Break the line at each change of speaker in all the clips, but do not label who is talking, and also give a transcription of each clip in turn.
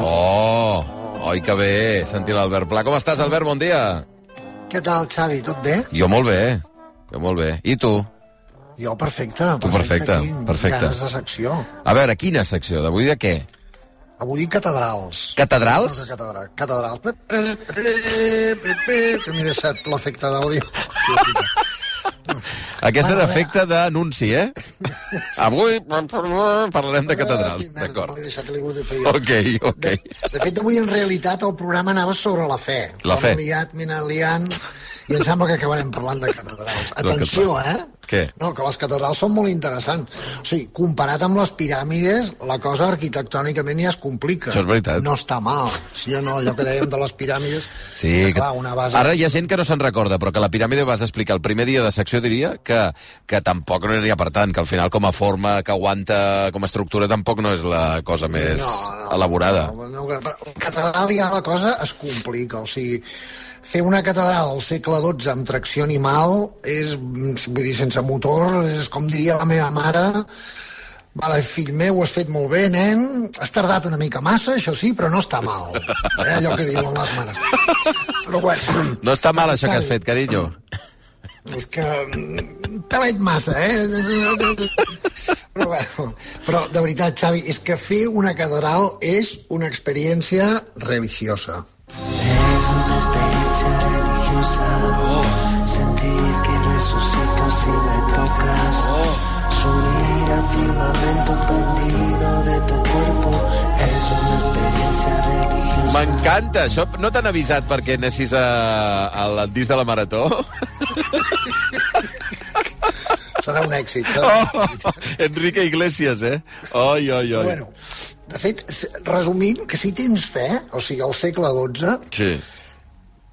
Oh, oi que bé sentir l'Albert Pla. Com estàs, Albert? Bon dia.
Què tal, Xavi? Tot bé?
Jo molt bé, jo molt bé. I tu?
Jo perfecte.
Tu perfecte,
Quin
perfecte.
Ganes de secció.
A veure, quina secció d'avui de què?
Avui catedrals.
Catedrals?
No, catedral, catedrals. Pep, pep, pep, pep, Que m'he deixat l'efecte d'àudio.
Aquesta
Bueno, a veure.
d'efecte d'anunci, eh? Avui parlarem de catedrals,
Quin merda,
d'acord.
M'he deixat l'ego de fer jo.
Ok, ok.
De fet, avui, en realitat, el programa anava sobre la fe.
La
M'han
fe.
liat, m'he anat liant, i em sembla que acabarem parlant de catedrals.
La
Atenció, eh?
Què?
No, que les catedrals són molt interessants. O sigui, comparat amb les piràmides, la cosa arquitectònicament ja es complica.
Això és veritat.
No està mal. Sí o no? Allò que dèiem de les piràmides...
Sí,
que... Clar, una base...
ara hi ha gent que no se'n recorda, però que la piràmide ho vas explicar el primer dia de secció, diria, que, que tampoc no aniria per tant, que al final com a forma que aguanta, com a estructura, tampoc no és la cosa més elaborada.
No, no, però la catedral ja la cosa es complica, o sigui, fer una catedral al segle XII amb tracció animal és, mm, vull dir, sense motor, és com diria la meva mare, Vale, fill meu, ho has fet molt bé, nen. Has tardat una mica massa, això sí, però no està mal. Eh, allò que diuen les mares. Però bueno,
No està mal això que has fet, carinyo.
és que... mm, Te veig massa, eh? Però, bueno, però de veritat, Xavi, és que fer una catedral és una experiència religiosa.
Es una experiencia religiosa. Sentir que resucito si me tocas. Subir al firmamento prendido de tu cuerpo. Es una experiencia religiosa.
M'encanta, això no t'han avisat perquè anessis a, a la- dins de la marató?
Serà un èxit. Serà... un
Oh, Enrique Iglesias, eh? Oi, oi, oi.
Bueno, de fet, s- resumint, que si tens fe, o sigui, al segle XII,
Sí.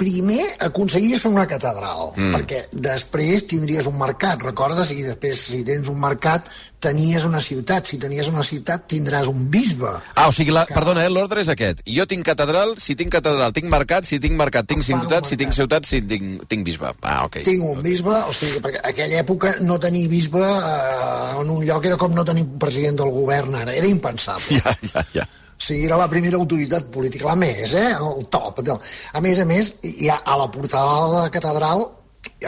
primer aconseguiries fer una catedral, mm. perquè després tindries un mercat, recordes? I després, si tens un mercat, tenies una ciutat. Si tenies una ciutat, tindràs un bisbe.
Ah, o sigui, la, perdona, eh, l'ordre és aquest. Jo tinc catedral, si tinc catedral, tinc mercat, si tinc mercat, tinc
Fan un
ciutat, si tinc
mercat.
ciutat, si tinc, tinc bisbe. Ah, ok.
Tinc un bisbe, o sigui, perquè en aquella època no tenir bisbe eh, en un lloc era com no tenir un president del govern ara, era impensable.
Ja, ja, ja.
O sigui, era la primera autoritat política, la més, eh? el top. No. A més a més, ja a la portalada de la catedral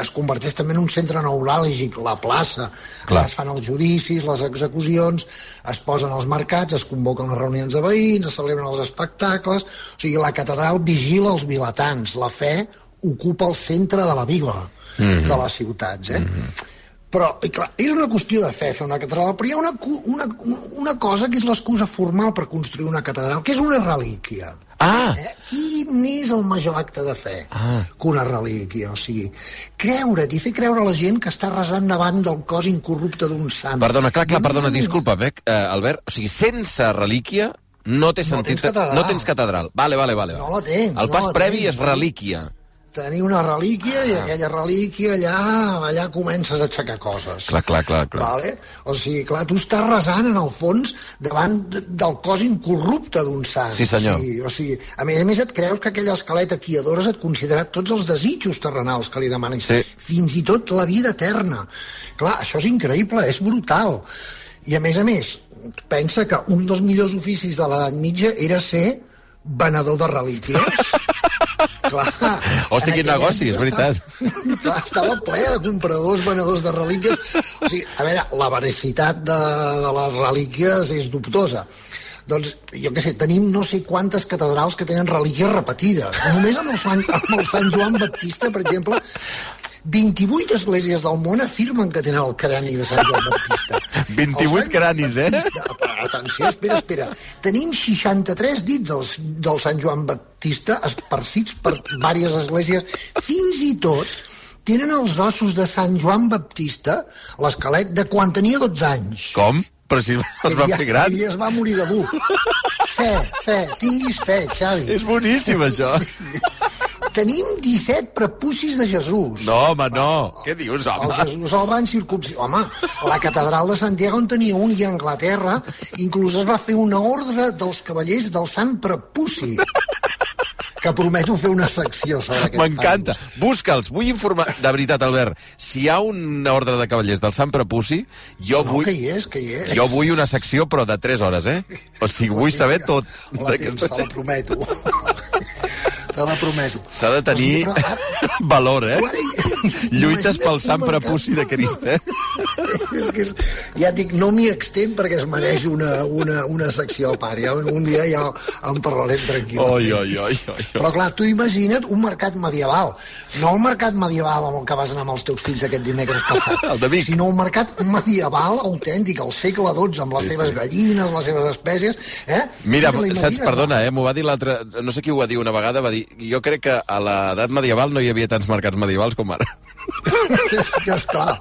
es converteix també en un centre neuràlgic, la plaça.
Clar.
Clar. Es fan els judicis, les execucions, es posen els mercats, es convoquen les reunions de veïns, es celebren els espectacles... O sigui, la catedral vigila els vilatans. La fe ocupa el centre de la vila, mm -hmm. de les ciutats. Eh? Mm -hmm. Però, i clar, és una qüestió de fe fer una catedral, però hi ha una, cu- una, una cosa que és l'excusa formal per construir una catedral, que és una relíquia.
Ah!
Eh? Quin és el major acte de fe
Ah.
que una relíquia? O sigui, creure't i fer creure a la gent que està resant davant del cos incorrupte d'un sant.
Perdona, clar, clar,
I a més
perdona,
a més,
disculpa, Bec, eh, Albert, o sigui, sense relíquia no té sentit...
tens catedral.
no tens catedral. Vale, vale, vale.
No la tens,
El pas
no la
previ
tens.
és relíquia.
Tenir una relíquia i
Ah.
aquella relíquia allà, allà comences a aixecar coses.
Clar, clar, clar, clar.
Vale? O sigui, clar, tu estàs resant, en el fons, davant de- del cos incorrupte d'un sant.
Sí, senyor.
O sigui, o sigui, a més a més, et creus que aquella escaleta que hi adores et considera tots els desitjos terrenals que li demanis,
Sí.
fins i tot la vida eterna. Clar, això és increïble, és brutal. I a més a més, pensa que un dels millors oficis de l'edat mitja era ser venedor de relíquies. Clar,
Hòstia,
en
quin
aquella
negoci, és
època
veritat.
estava- Clar, estava ple de compradors, venedors de relíquies. O sigui, a veure, la veracitat de, de les relíquies és dubtosa. Doncs, jo què sé, tenim no sé quantes catedrals que tenen relíquies repetides. Només amb el Sant, amb el Sant Joan Baptista, per exemple, 28 esglésies del món afirmen que tenen el crani de Sant Joan Baptista.
28
El Sant
cranis, eh?
Baptista, atenció, espera, espera. Tenim 63 dits del, del Sant Joan Baptista esparcits per diverses esglésies. Fins i tot tenen els ossos de Sant Joan Baptista, l'esquelet de quan tenia 12 anys.
Com? Però si es va
I ja-
fer gran.
I es va morir de dur. Fe, fe, tinguis fe, Xavi.
És boníssim, això.
Tenim 17 prepucis de Jesús.
No, home, no. Què dius,
El
home?
Jesús el van circumcidar. Home, la catedral de Santiago en tenia un i a Anglaterra inclús es va fer una ordre dels cavallers del Sant Prepuci. que prometo fer una secció sobre aquest
M'encanta. Busca'ls. Vull informar... De veritat, Albert, si hi ha una ordre de cavallers del Sant Prepuci, jo
No,
vull...
que hi és, que hi és.
Jo vull una secció, però de 3 hores, eh? O sigui, vull saber tot.
La
d'aquesta
tens, te la
gent.
prometo. te la prometo.
S'ha de tenir
Però, ah,
valor, eh?
Guari,
Lluites
imagina't
pel Sant
un mercat.
Prepuci de Crist, eh?
és que és, ja et dic, no m'hi extén perquè es mereix una, una, una secció a part. Ja, un- un dia ja en parlarem tranquil·lament.
Oi, oi, oi, oi. oi.
Però clar, tu imagina't un mercat medieval. No el mercat medieval amb el que vas anar amb els teus fills aquest dimecres passat.
El de Vic.
Sinó un mercat medieval autèntic, al segle XII, amb les
Sí,
sí,
sí.
seves sí. gallines, les seves espècies... Eh?
Mira,
te la
saps,
imagines,
perdona, eh, m'ho va dir l'altre... No sé qui ho va dir una vegada, va dir... Jo crec que a l'edat medieval no hi havia tants mercats medievals com ara.
És que, esclar,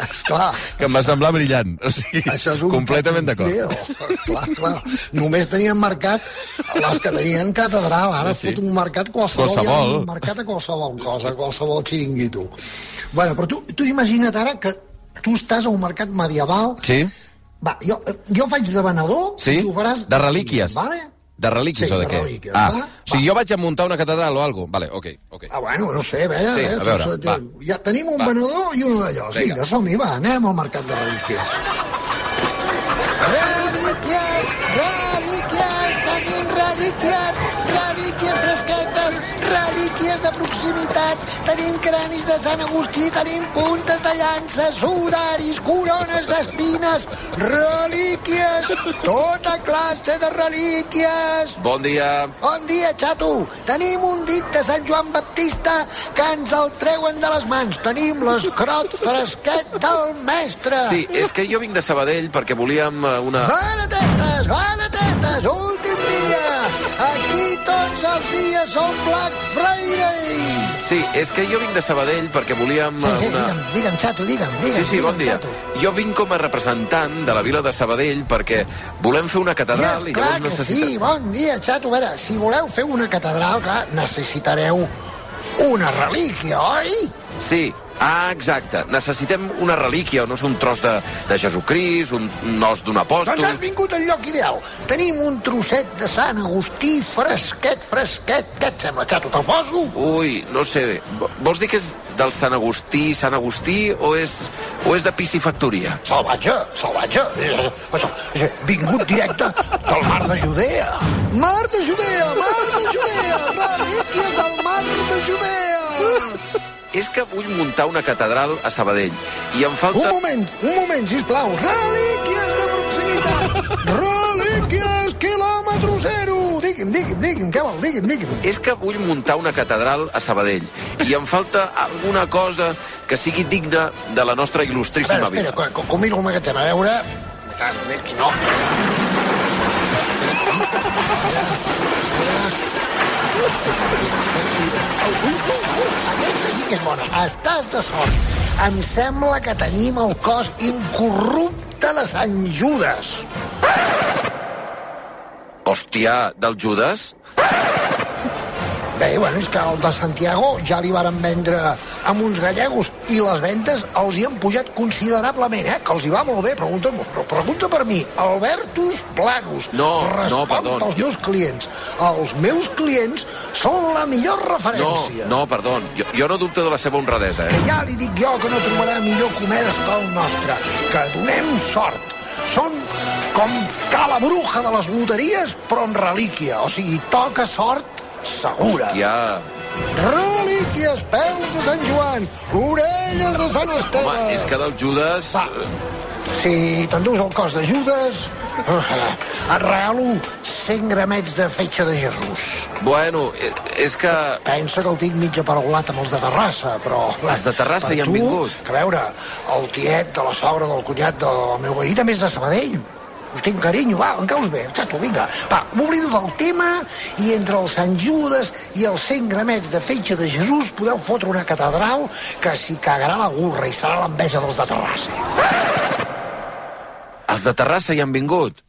esclar.
Que em va semblar brillant. O sigui,
Això és un
completament
cap
d'acord.
Déu. Clar, clar. Només tenien mercat les que tenien catedral. Ara
Sí, sí.
sí. fot un mercat qualsevol.
Qualsevol.
Hi ha un mercat a qualsevol cosa, a qualsevol xiringuito. Bueno, però tu, tu imagina't ara que tu estàs a un mercat medieval
Sí?
Va, jo, jo faig de venedor
Sí?
i tu faràs...
De relíquies.
Vale?
De relíquies
Sí,
o de,
de
què?
relíquies,
ah,
va,
o sigui, jo vaig a muntar una catedral o alguna Vale, ok, ok.
Ah, bueno, no sé, a veure...
Sí, a veure,
doncs,
va.
ja tenim un
Va.
venedor i un d'allòs.
Vinga.
Vinga, som-hi, va, anem al mercat de relíquies. Relíquies, relíquies, tenim relíquies, relíquies fresquetes, relíquies de proximitat, tenim cranis de Sant Agustí, tenim puntes de llances, sudaris, corones d'espines, relíquies, tota classe de relíquies.
Bon dia.
Bon dia, xato. Tenim un dit de Sant Joan Baptista que ens el treuen de les mans. Tenim l'escrot fresquet del mestre.
Sí, és que jo vinc de Sabadell perquè volíem eh, una...
Bona tetes, bona tetes, últim dia. Aquí tots els dies són Black Friday.
Sí, és que jo vinc de Sabadell perquè volíem
Sí, sí,
eh, una...
digue'm, digue'm, xato, digue'm,
Sí,
digue'm.
sí, bon
digue'm,
dia.
Xato.
Jo vinc com a representant de la vila de Sabadell perquè volem fer una catedral
Yes,
i
clar
llavors
que
necessitem...
sí, bon dia, xato. A veure, si voleu fer una catedral, clar, necessitareu una relíquia, oi?
Sí, ah, exacte. Necessitem una relíquia, o no sé, un tros de, de Jesucrist, un, un os d'un apòstol...
Doncs has vingut al lloc ideal. Tenim un trosset de Sant Agustí fresquet, fresquet. Què et sembla, xato? Te'l poso?
Ui, no sé, vo- vols dir que és del Sant Agustí, Sant Agustí, o és, o és de piscifactoria?
Salvatge, salvatge. Eh, Això, és a dir, vingut directe del mar de Judea. Mar de Judea, mar de Judea, relíquies del mar de Judea.
És que vull muntar una catedral a Sabadell i em
Un
falta...
moment, un moment, sisplau. Relíquies de proximitat. Relíquies quilòmetre zero. Digui'm, digui'm, digui'm, què vol? Digui'm, digui'm.
És que vull muntar una catedral a Sabadell i em falta alguna cosa que sigui digna de la nostra
A veure,
il·lustríssima
espera,
vida.
com, com, com miro el magatzem, a veure... Ah, és que No. Aquesta sí que és bona. Estàs de sort. Em sembla que tenim el cos incorrupte de Sant Judes.
Hòstia, del Judas?
Bé, bueno, és que el de Santiago ja li varen vendre amb uns gallegos i les ventes els hi han pujat considerablement, eh? Que els hi va molt bé, pregunta, però pregunta per mi. Albertus Planus.
No, no,
Respon
perdó.
als meus clients. Els meus clients són la millor
No,
referència.
no, perdó, jo, jo no dubto de la seva honradesa, eh?
Que ja li dic jo que no trobarà millor comerç que el nostre. Que donem sort. Són com cala bruja de les loteries, però en relíquia. O sigui, toca sort segura.
Ja,
Relíquies, peus de Sant Joan, orelles de Sant Esteve.
home, és que del eh, Judas...
Oh. Va. Si t'endús el cos de Judes, eh, et regalo 100 gramets de fetge de Jesús.
Bueno, eh, és que...
Pensa que el tinc mitja paraulat amb els de Terrassa, però...
Els de Terrassa
per
hi han
tu,
vingut.
Que a veure, el tiet de la sogra del cunyat del meu veí també és de Sabadell. Us tinc carinyo, va, en caus bé, xato, vinga. Va, m'oblido del tema i entre els Sant Judes i els 100 gramets de fetge de Jesús podeu fotre una catedral que s'hi cagarà la gurra i serà l'enveja dels de Terrassa.
Els de Terrassa hi han vingut.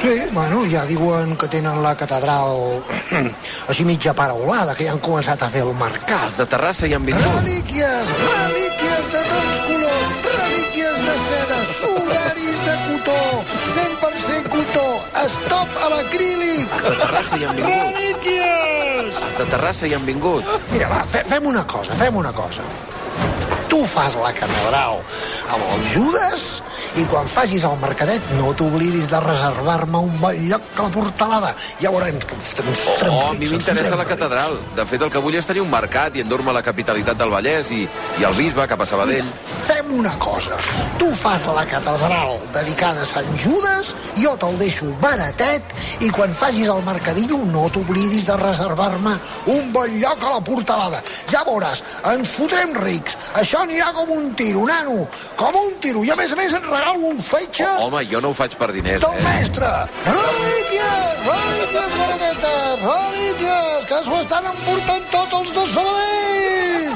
Sí, bueno, ja diuen que tenen la catedral així mitja paraulada, que ja han començat a fer el mercat.
Els de Terrassa hi han vingut.
Relíquies, relíquies de tots colors, relíquies de seda, sudaris de cotó, 100% cotó, stop a l'acrílic!
Els de Terrassa hi han vingut.
Relíquies!
Els de Terrassa hi han vingut.
Mira, va, fe, fem una cosa, fem una cosa. Tu fas la catedral amb el Judes i quan facis el mercadet no t'oblidis de reservar-me un bon lloc a la portalada. Ja veurem que ens trem
Oh, a mi m'interessa la catedral. De fet, el que vull és tenir un mercat i endur-me la capitalitat del Vallès i, i el bisbe cap a Sabadell.
Fem una cosa. Tu fas la catedral dedicada a Sant Judes, jo te'l deixo baratet i quan facis el mercadillo no t'oblidis de reservar-me un bon lloc a la portalada. Ja veuràs, ens fotrem rics. Això anirà com un tiro, nano. Com un tiro. I a més a més et regalo un fetge oh,
Home, jo no ho faig per diners,
del
eh?
mestre. Relíquies, relíquies, baratetes, relíquies, que s'ho estan emportant tots els de Sabadell.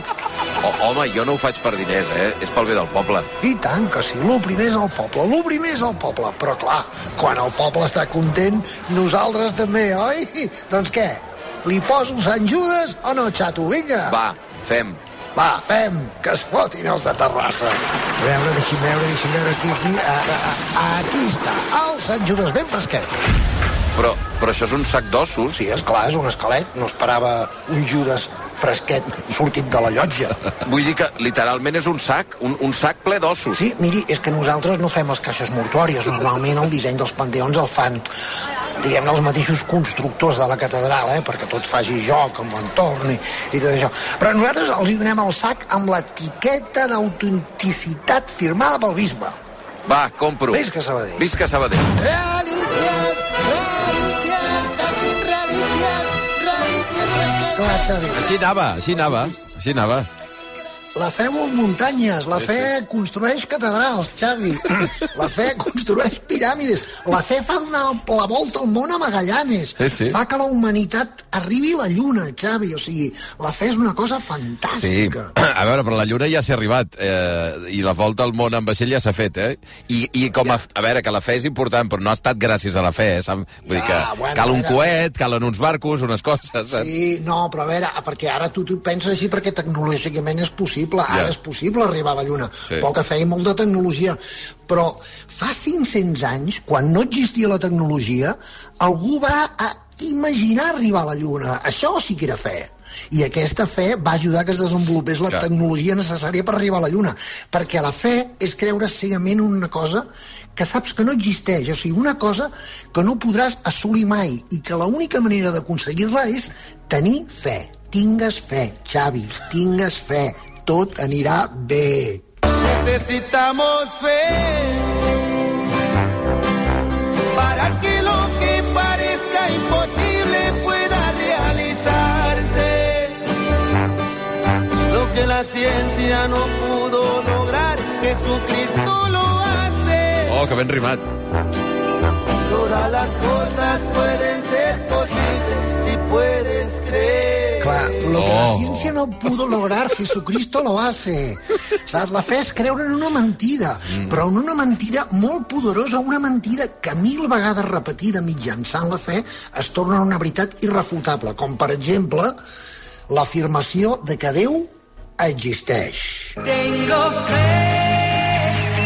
Oh, home, jo no ho faig per diners, eh? És pel bé del poble.
I tant que sí, el primer és el poble, el primer és el poble. Però clar, quan el poble està content, nosaltres també, oi? Doncs què? Li poso Sant Judes o no, xato? Vinga,
Va, fem.
va fem, que es fotin els de Terrassa. A veure, deixi'm veure, deixi'm veure, aquí, aquí, a, a, a, aquí està, el Sant Judes, ben fresquet.
Però, però això és un sac d'ossos.
Sí, és clar, és un esquelet, no esperava un Judes fresquet sortit de la llotja.
Vull dir que literalment és un sac, un, un sac ple d'ossos.
Sí, miri, és que nosaltres no fem les caixes mortuòries. Normalment el disseny dels panteons el fan diguem-ne, els mateixos constructors de la catedral, eh? perquè tot faci joc amb l'entorn i, i tot això. Però nosaltres els hi donem el sac amb l'etiqueta d'autenticitat firmada pel bisbe.
Va, compro.
Visca Sabadell.
Visca Sabadell.
Relíquies, relíquies, tenim relíquies, relíquies fresquetes. Clar, Xavi.
Així anava, així anava, així anava.
La fe mou muntanyes, la fe construeix catedrals, Xavi. La fe construeix piràmides. La fe fa donar la volta al món a Magallanes.
Sí, sí.
Fa que la humanitat arribi a la lluna, Xavi. O sigui, la fe és una cosa
Sí,
fantàstica.
a veure, però la Lluna ja s'ha arribat, eh, i la volta al món en vaixell ja s'ha fet, eh? I, i com a, a veure, que la fe és important, però no ha estat gràcies a la fe, eh? Sam? Vull dir que
Ja, Ah, bueno,
cal un
a veure.
coet, calen uns barcos, unes coses, saps?
Sí, no, però a veure, perquè ara tu, tu penses així perquè tecnològicament és possible, ara
Ja.
és possible arribar a la Lluna.
Sí.
Poca fe i molta tecnologia. Però fa 500 anys, quan no existia la tecnologia, algú va a imaginar arribar a la Lluna. Això sí que era fe. I aquesta fe va ajudar que es desenvolupés la
Clar.
tecnologia necessària per arribar a la Lluna. Perquè la fe és creure cegament en una cosa que saps que no existeix, o sigui, una cosa que no podràs assolir mai i que l'única manera d'aconseguir-la és tenir fe. Tingues fe, Xavi, tingues fe. Tot anirà bé.
Necesitamos fe para que lo que parezca imposible pueda realizarse. Lo que la ciencia no pudo lograr, Jesucristo lo hace.
Oh, que ben rimat.
Todas las cosas pueden ser posibles si puedes creer.
Clar, lo que la
Oh.
ciència no pudo lograr, Jesucristo lo hace. Saps? La fe és creure en una mentida,
Mm.
però en una mentida molt poderosa, una mentida que mil vegades repetida mitjançant la fe es torna una veritat irrefutable, com per exemple l'afirmació de que Déu existeix.
Tengo fe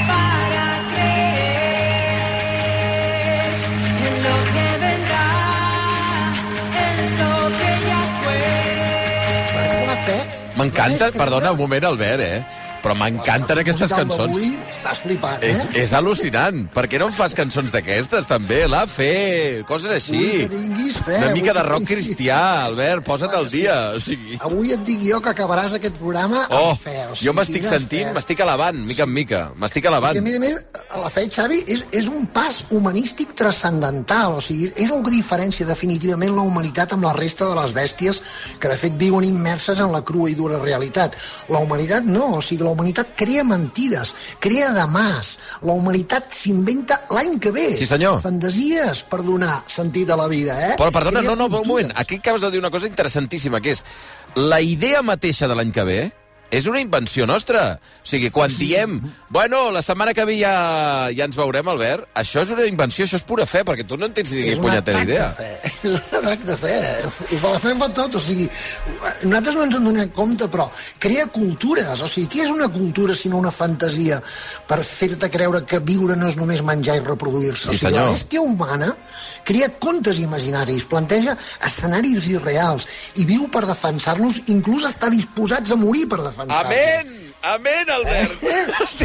para creer en lo que vendrá, en lo que ya fue.
Però és que la fe...
M'encanta,
la fe és
perdona
creure-
un moment, Albert, eh? Però m'encanten
El
aquestes
musical
cançons.
d'avui Estàs flipant, eh?
És, és al·lucinant. Per què no em fas cançons d'aquestes, també? La fe, coses
Vull
així.
que tinguis fe,
Una
vull
mica de
que
rock
tinguis-
cristià, Albert, posa't al dia. O sigui...
Avui et dic jo que acabaràs aquest programa
Oh,
amb fe. O sigui,
jo m'estic
digues eh?
sentint,
fe.
m'estic elevant, mica en mica. M'estic elevant.
Que, a més a més, la fe, Xavi, és, és un pas humanístic transcendental, o sigui, és el que diferència definitivament la humanitat amb la resta de les bèsties que, de fet, viuen immerses en la crua i dura realitat. La humanitat no, o sigui, la humanitat crea mentides, crea demàs, la humanitat s'inventa l'any que ve.
Sí, senyor.
Fantasies per donar sentit a la vida, eh?
Però, perdona,
Crea
no, no, un
cultures.
moment. Aquí acabes de dir una cosa interessantíssima, que és la idea mateixa de l'any que ve és una invenció nostra. O sigui, quan diem, bueno, la setmana que ve ja, ja ens veurem, Albert, això és una invenció, això és pura fe, perquè tu no en tens ni
És un
punyetera
atac de
idea.
fe, És un atac de fe. La fe fa tot, o sigui, nosaltres no ens en donem compte, però crea cultures. O sigui, què és una cultura sinó una fantasia per fer-te creure que viure no és només menjar i reproduir-se?
Sí,
o sigui,
senyor.
la bèstia humana crea contes imaginaris, planteja escenaris irreals i viu per defensar-los, inclús està disposats a morir per defensar-los.
Amén! Amén, Albert!
Eh?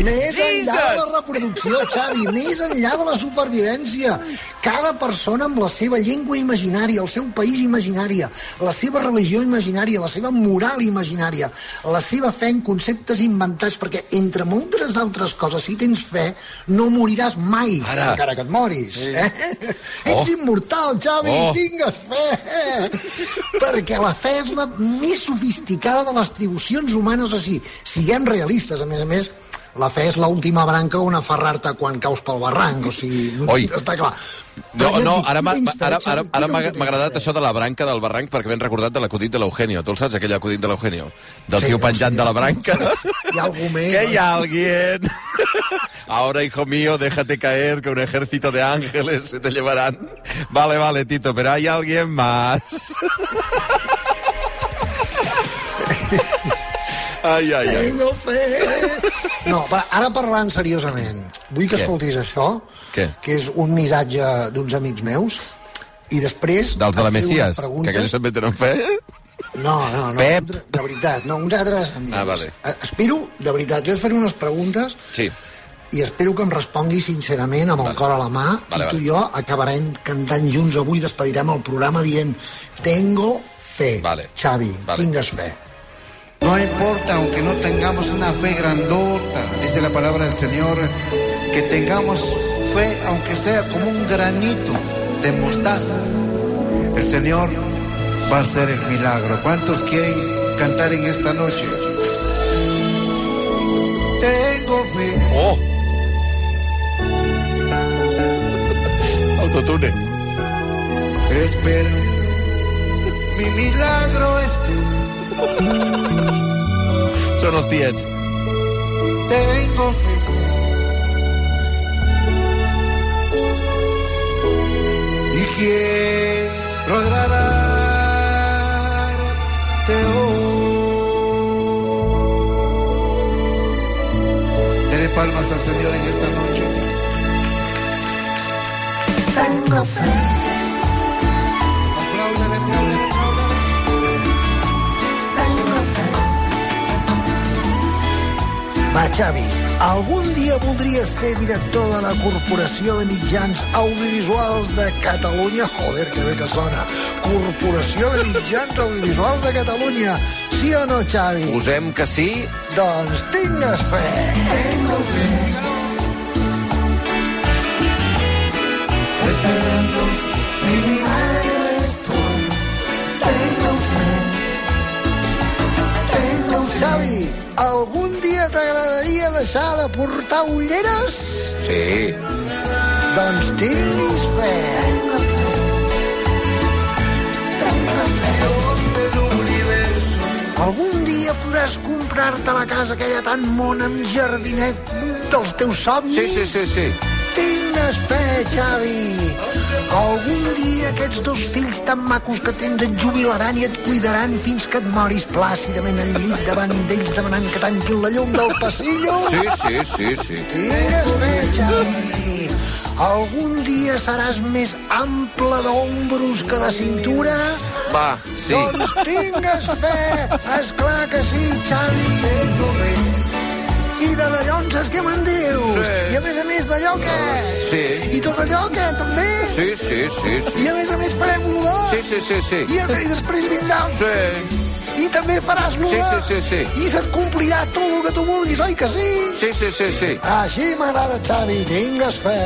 Més enllà de la
Jesus!
reproducció, Xavi, més enllà de la supervivència. Cada persona amb la seva llengua imaginària, el seu país imaginària, la seva religió imaginària, la seva moral imaginària, la seva fe en conceptes inventats, perquè entre moltes d'altres coses, si tens fe, no moriràs mai,
Ara.
encara que et moris. Eh?
Oh.
Ets immortal, Xavi,
Oh.
oh. tingues fe! Perquè la fe és la més sofisticada de les atribucions humanes, o sigui, siguem realistes, a més a més, la fe és l'última branca on aferrar-te quan caus pel barranc, o sigui,
Oi.
està clar.
No,
Però ja et
no,
dic,
ara
tu
m'ha
tens fe,
ara, ara,
Xavi,
ara
tu
m'ha
no tens
m'ha agradat
fe.
això de la branca del barranc perquè ben recordat de l'acudit de l'Eugenio. Tu el saps, aquell acudit de l'Eugenio? Del
Sí,
tio
sí,
penjant
sí.
de la branca?
Hi ha algú més? eh?
Que hi ha alguien? Ahora, hijo mío, déjate caer que un ejército de ángeles se te llevarán. Vale, vale, Tito, pero hay alguien más. Ai, ai, ai.
Tengo fe. No, va, ara parlant seriosament, vull que
Què?
escoltis això,
Què?
que és un missatge d'uns amics meus, i després...
Dels de
et
la
faré unes
Messias, que
preguntes.
aquells també tenen fe.
No, no, no.
Pep.
De veritat, no, uns altres amics.
Ah, vale.
Eh, Espero, de veritat, jo et faré unes preguntes
Sí.
i espero que em respongui sincerament amb el cor a la mà
Vale,
i tu
vale.
i jo acabarem cantant junts avui despedirem el programa dient tengo fe,
Vale.
Xavi,
Vale.
tingues fe
No importa, aunque no tengamos una fe grandota, dice la palabra del Señor, que tengamos fe, aunque sea como un granito de mostaza, el Señor va a hacer el milagro. ¿Cuántos quieren cantar en esta noche? Tengo fe.
Oh! Autotune.
Espera, mi milagro es que
Són els tiets.
tengo fe. Y quiero agradarte hoy. Dele palmas al Señor en esta noche.
tengo fe
Apláudale, apláudale, apláudale.
va Xavi, algun dia voldries ser director de la Corporació de Mitjans Audiovisuals de Catalunya joder, que bé que sona Corporació de Mitjans Audiovisuals de Catalunya sí o no, Xavi?
Posem que sí,
Doncs tingues fe. Tengo fe. Esperando mi milagro estoy. Tengo fe. Tengo fe. Xavi, algun dia t'agradaria deixar de portar ulleres?
sí.
Doncs tinguis fe. Tengo fe. Tengo fe.
Dios del universo,
Algun dia podràs comprar-te la casa aquella tan mona amb jardinet dels teus somnis?
Sí, sí, sí, sí.
Tingues fe, Xavi. Algun dia aquests dos fills tan macos que tens et jubilaran i et cuidaran fins que et moris plàcidament al llit davant d'ells demanant que tanquin la llum del passillo?
Sí, sí, sí, sí.
Tingues fe, Xavi. Algun dia seràs més ample d'ombros que de cintura?
Va, sí.
Doncs tingues fe! És clar que sí, Xavi! I de d'allò en saps què me'n dius?
Sí.
I a més a més d'allò què?
Sí.
I tot allò què, també?
Sí, sí, sí, sí.
I a més a més farem l'odor?
Sí, sí, sí, sí.
I, a- I després vindrà...
Sí,
I també faràs l'odor?
Sí, sí, sí, sí.
I se't complirà tot el que tu vulguis, oi que sí?
sí, sí, sí, sí.
Així m'agrada, Xavi. Tingues fe,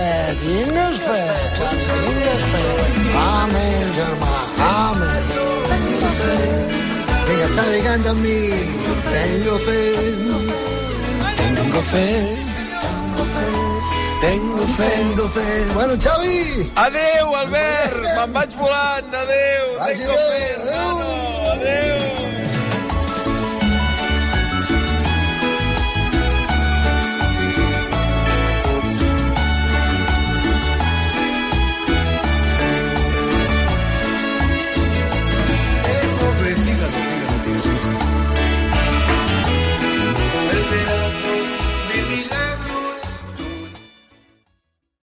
tingues fe, Xavi, tingues fe. Amén, germà, amén. Vinga, Xavi, canta amb mi. Tengo fe.
Tengo fe. Tengo fe.
Tengo fe. Bueno, Xavi,
Adéu, Albert! Me'n vaig volant! Adéu!
Vagi
Tengo
bé,
fe,
adéu.
hermano! Adéu!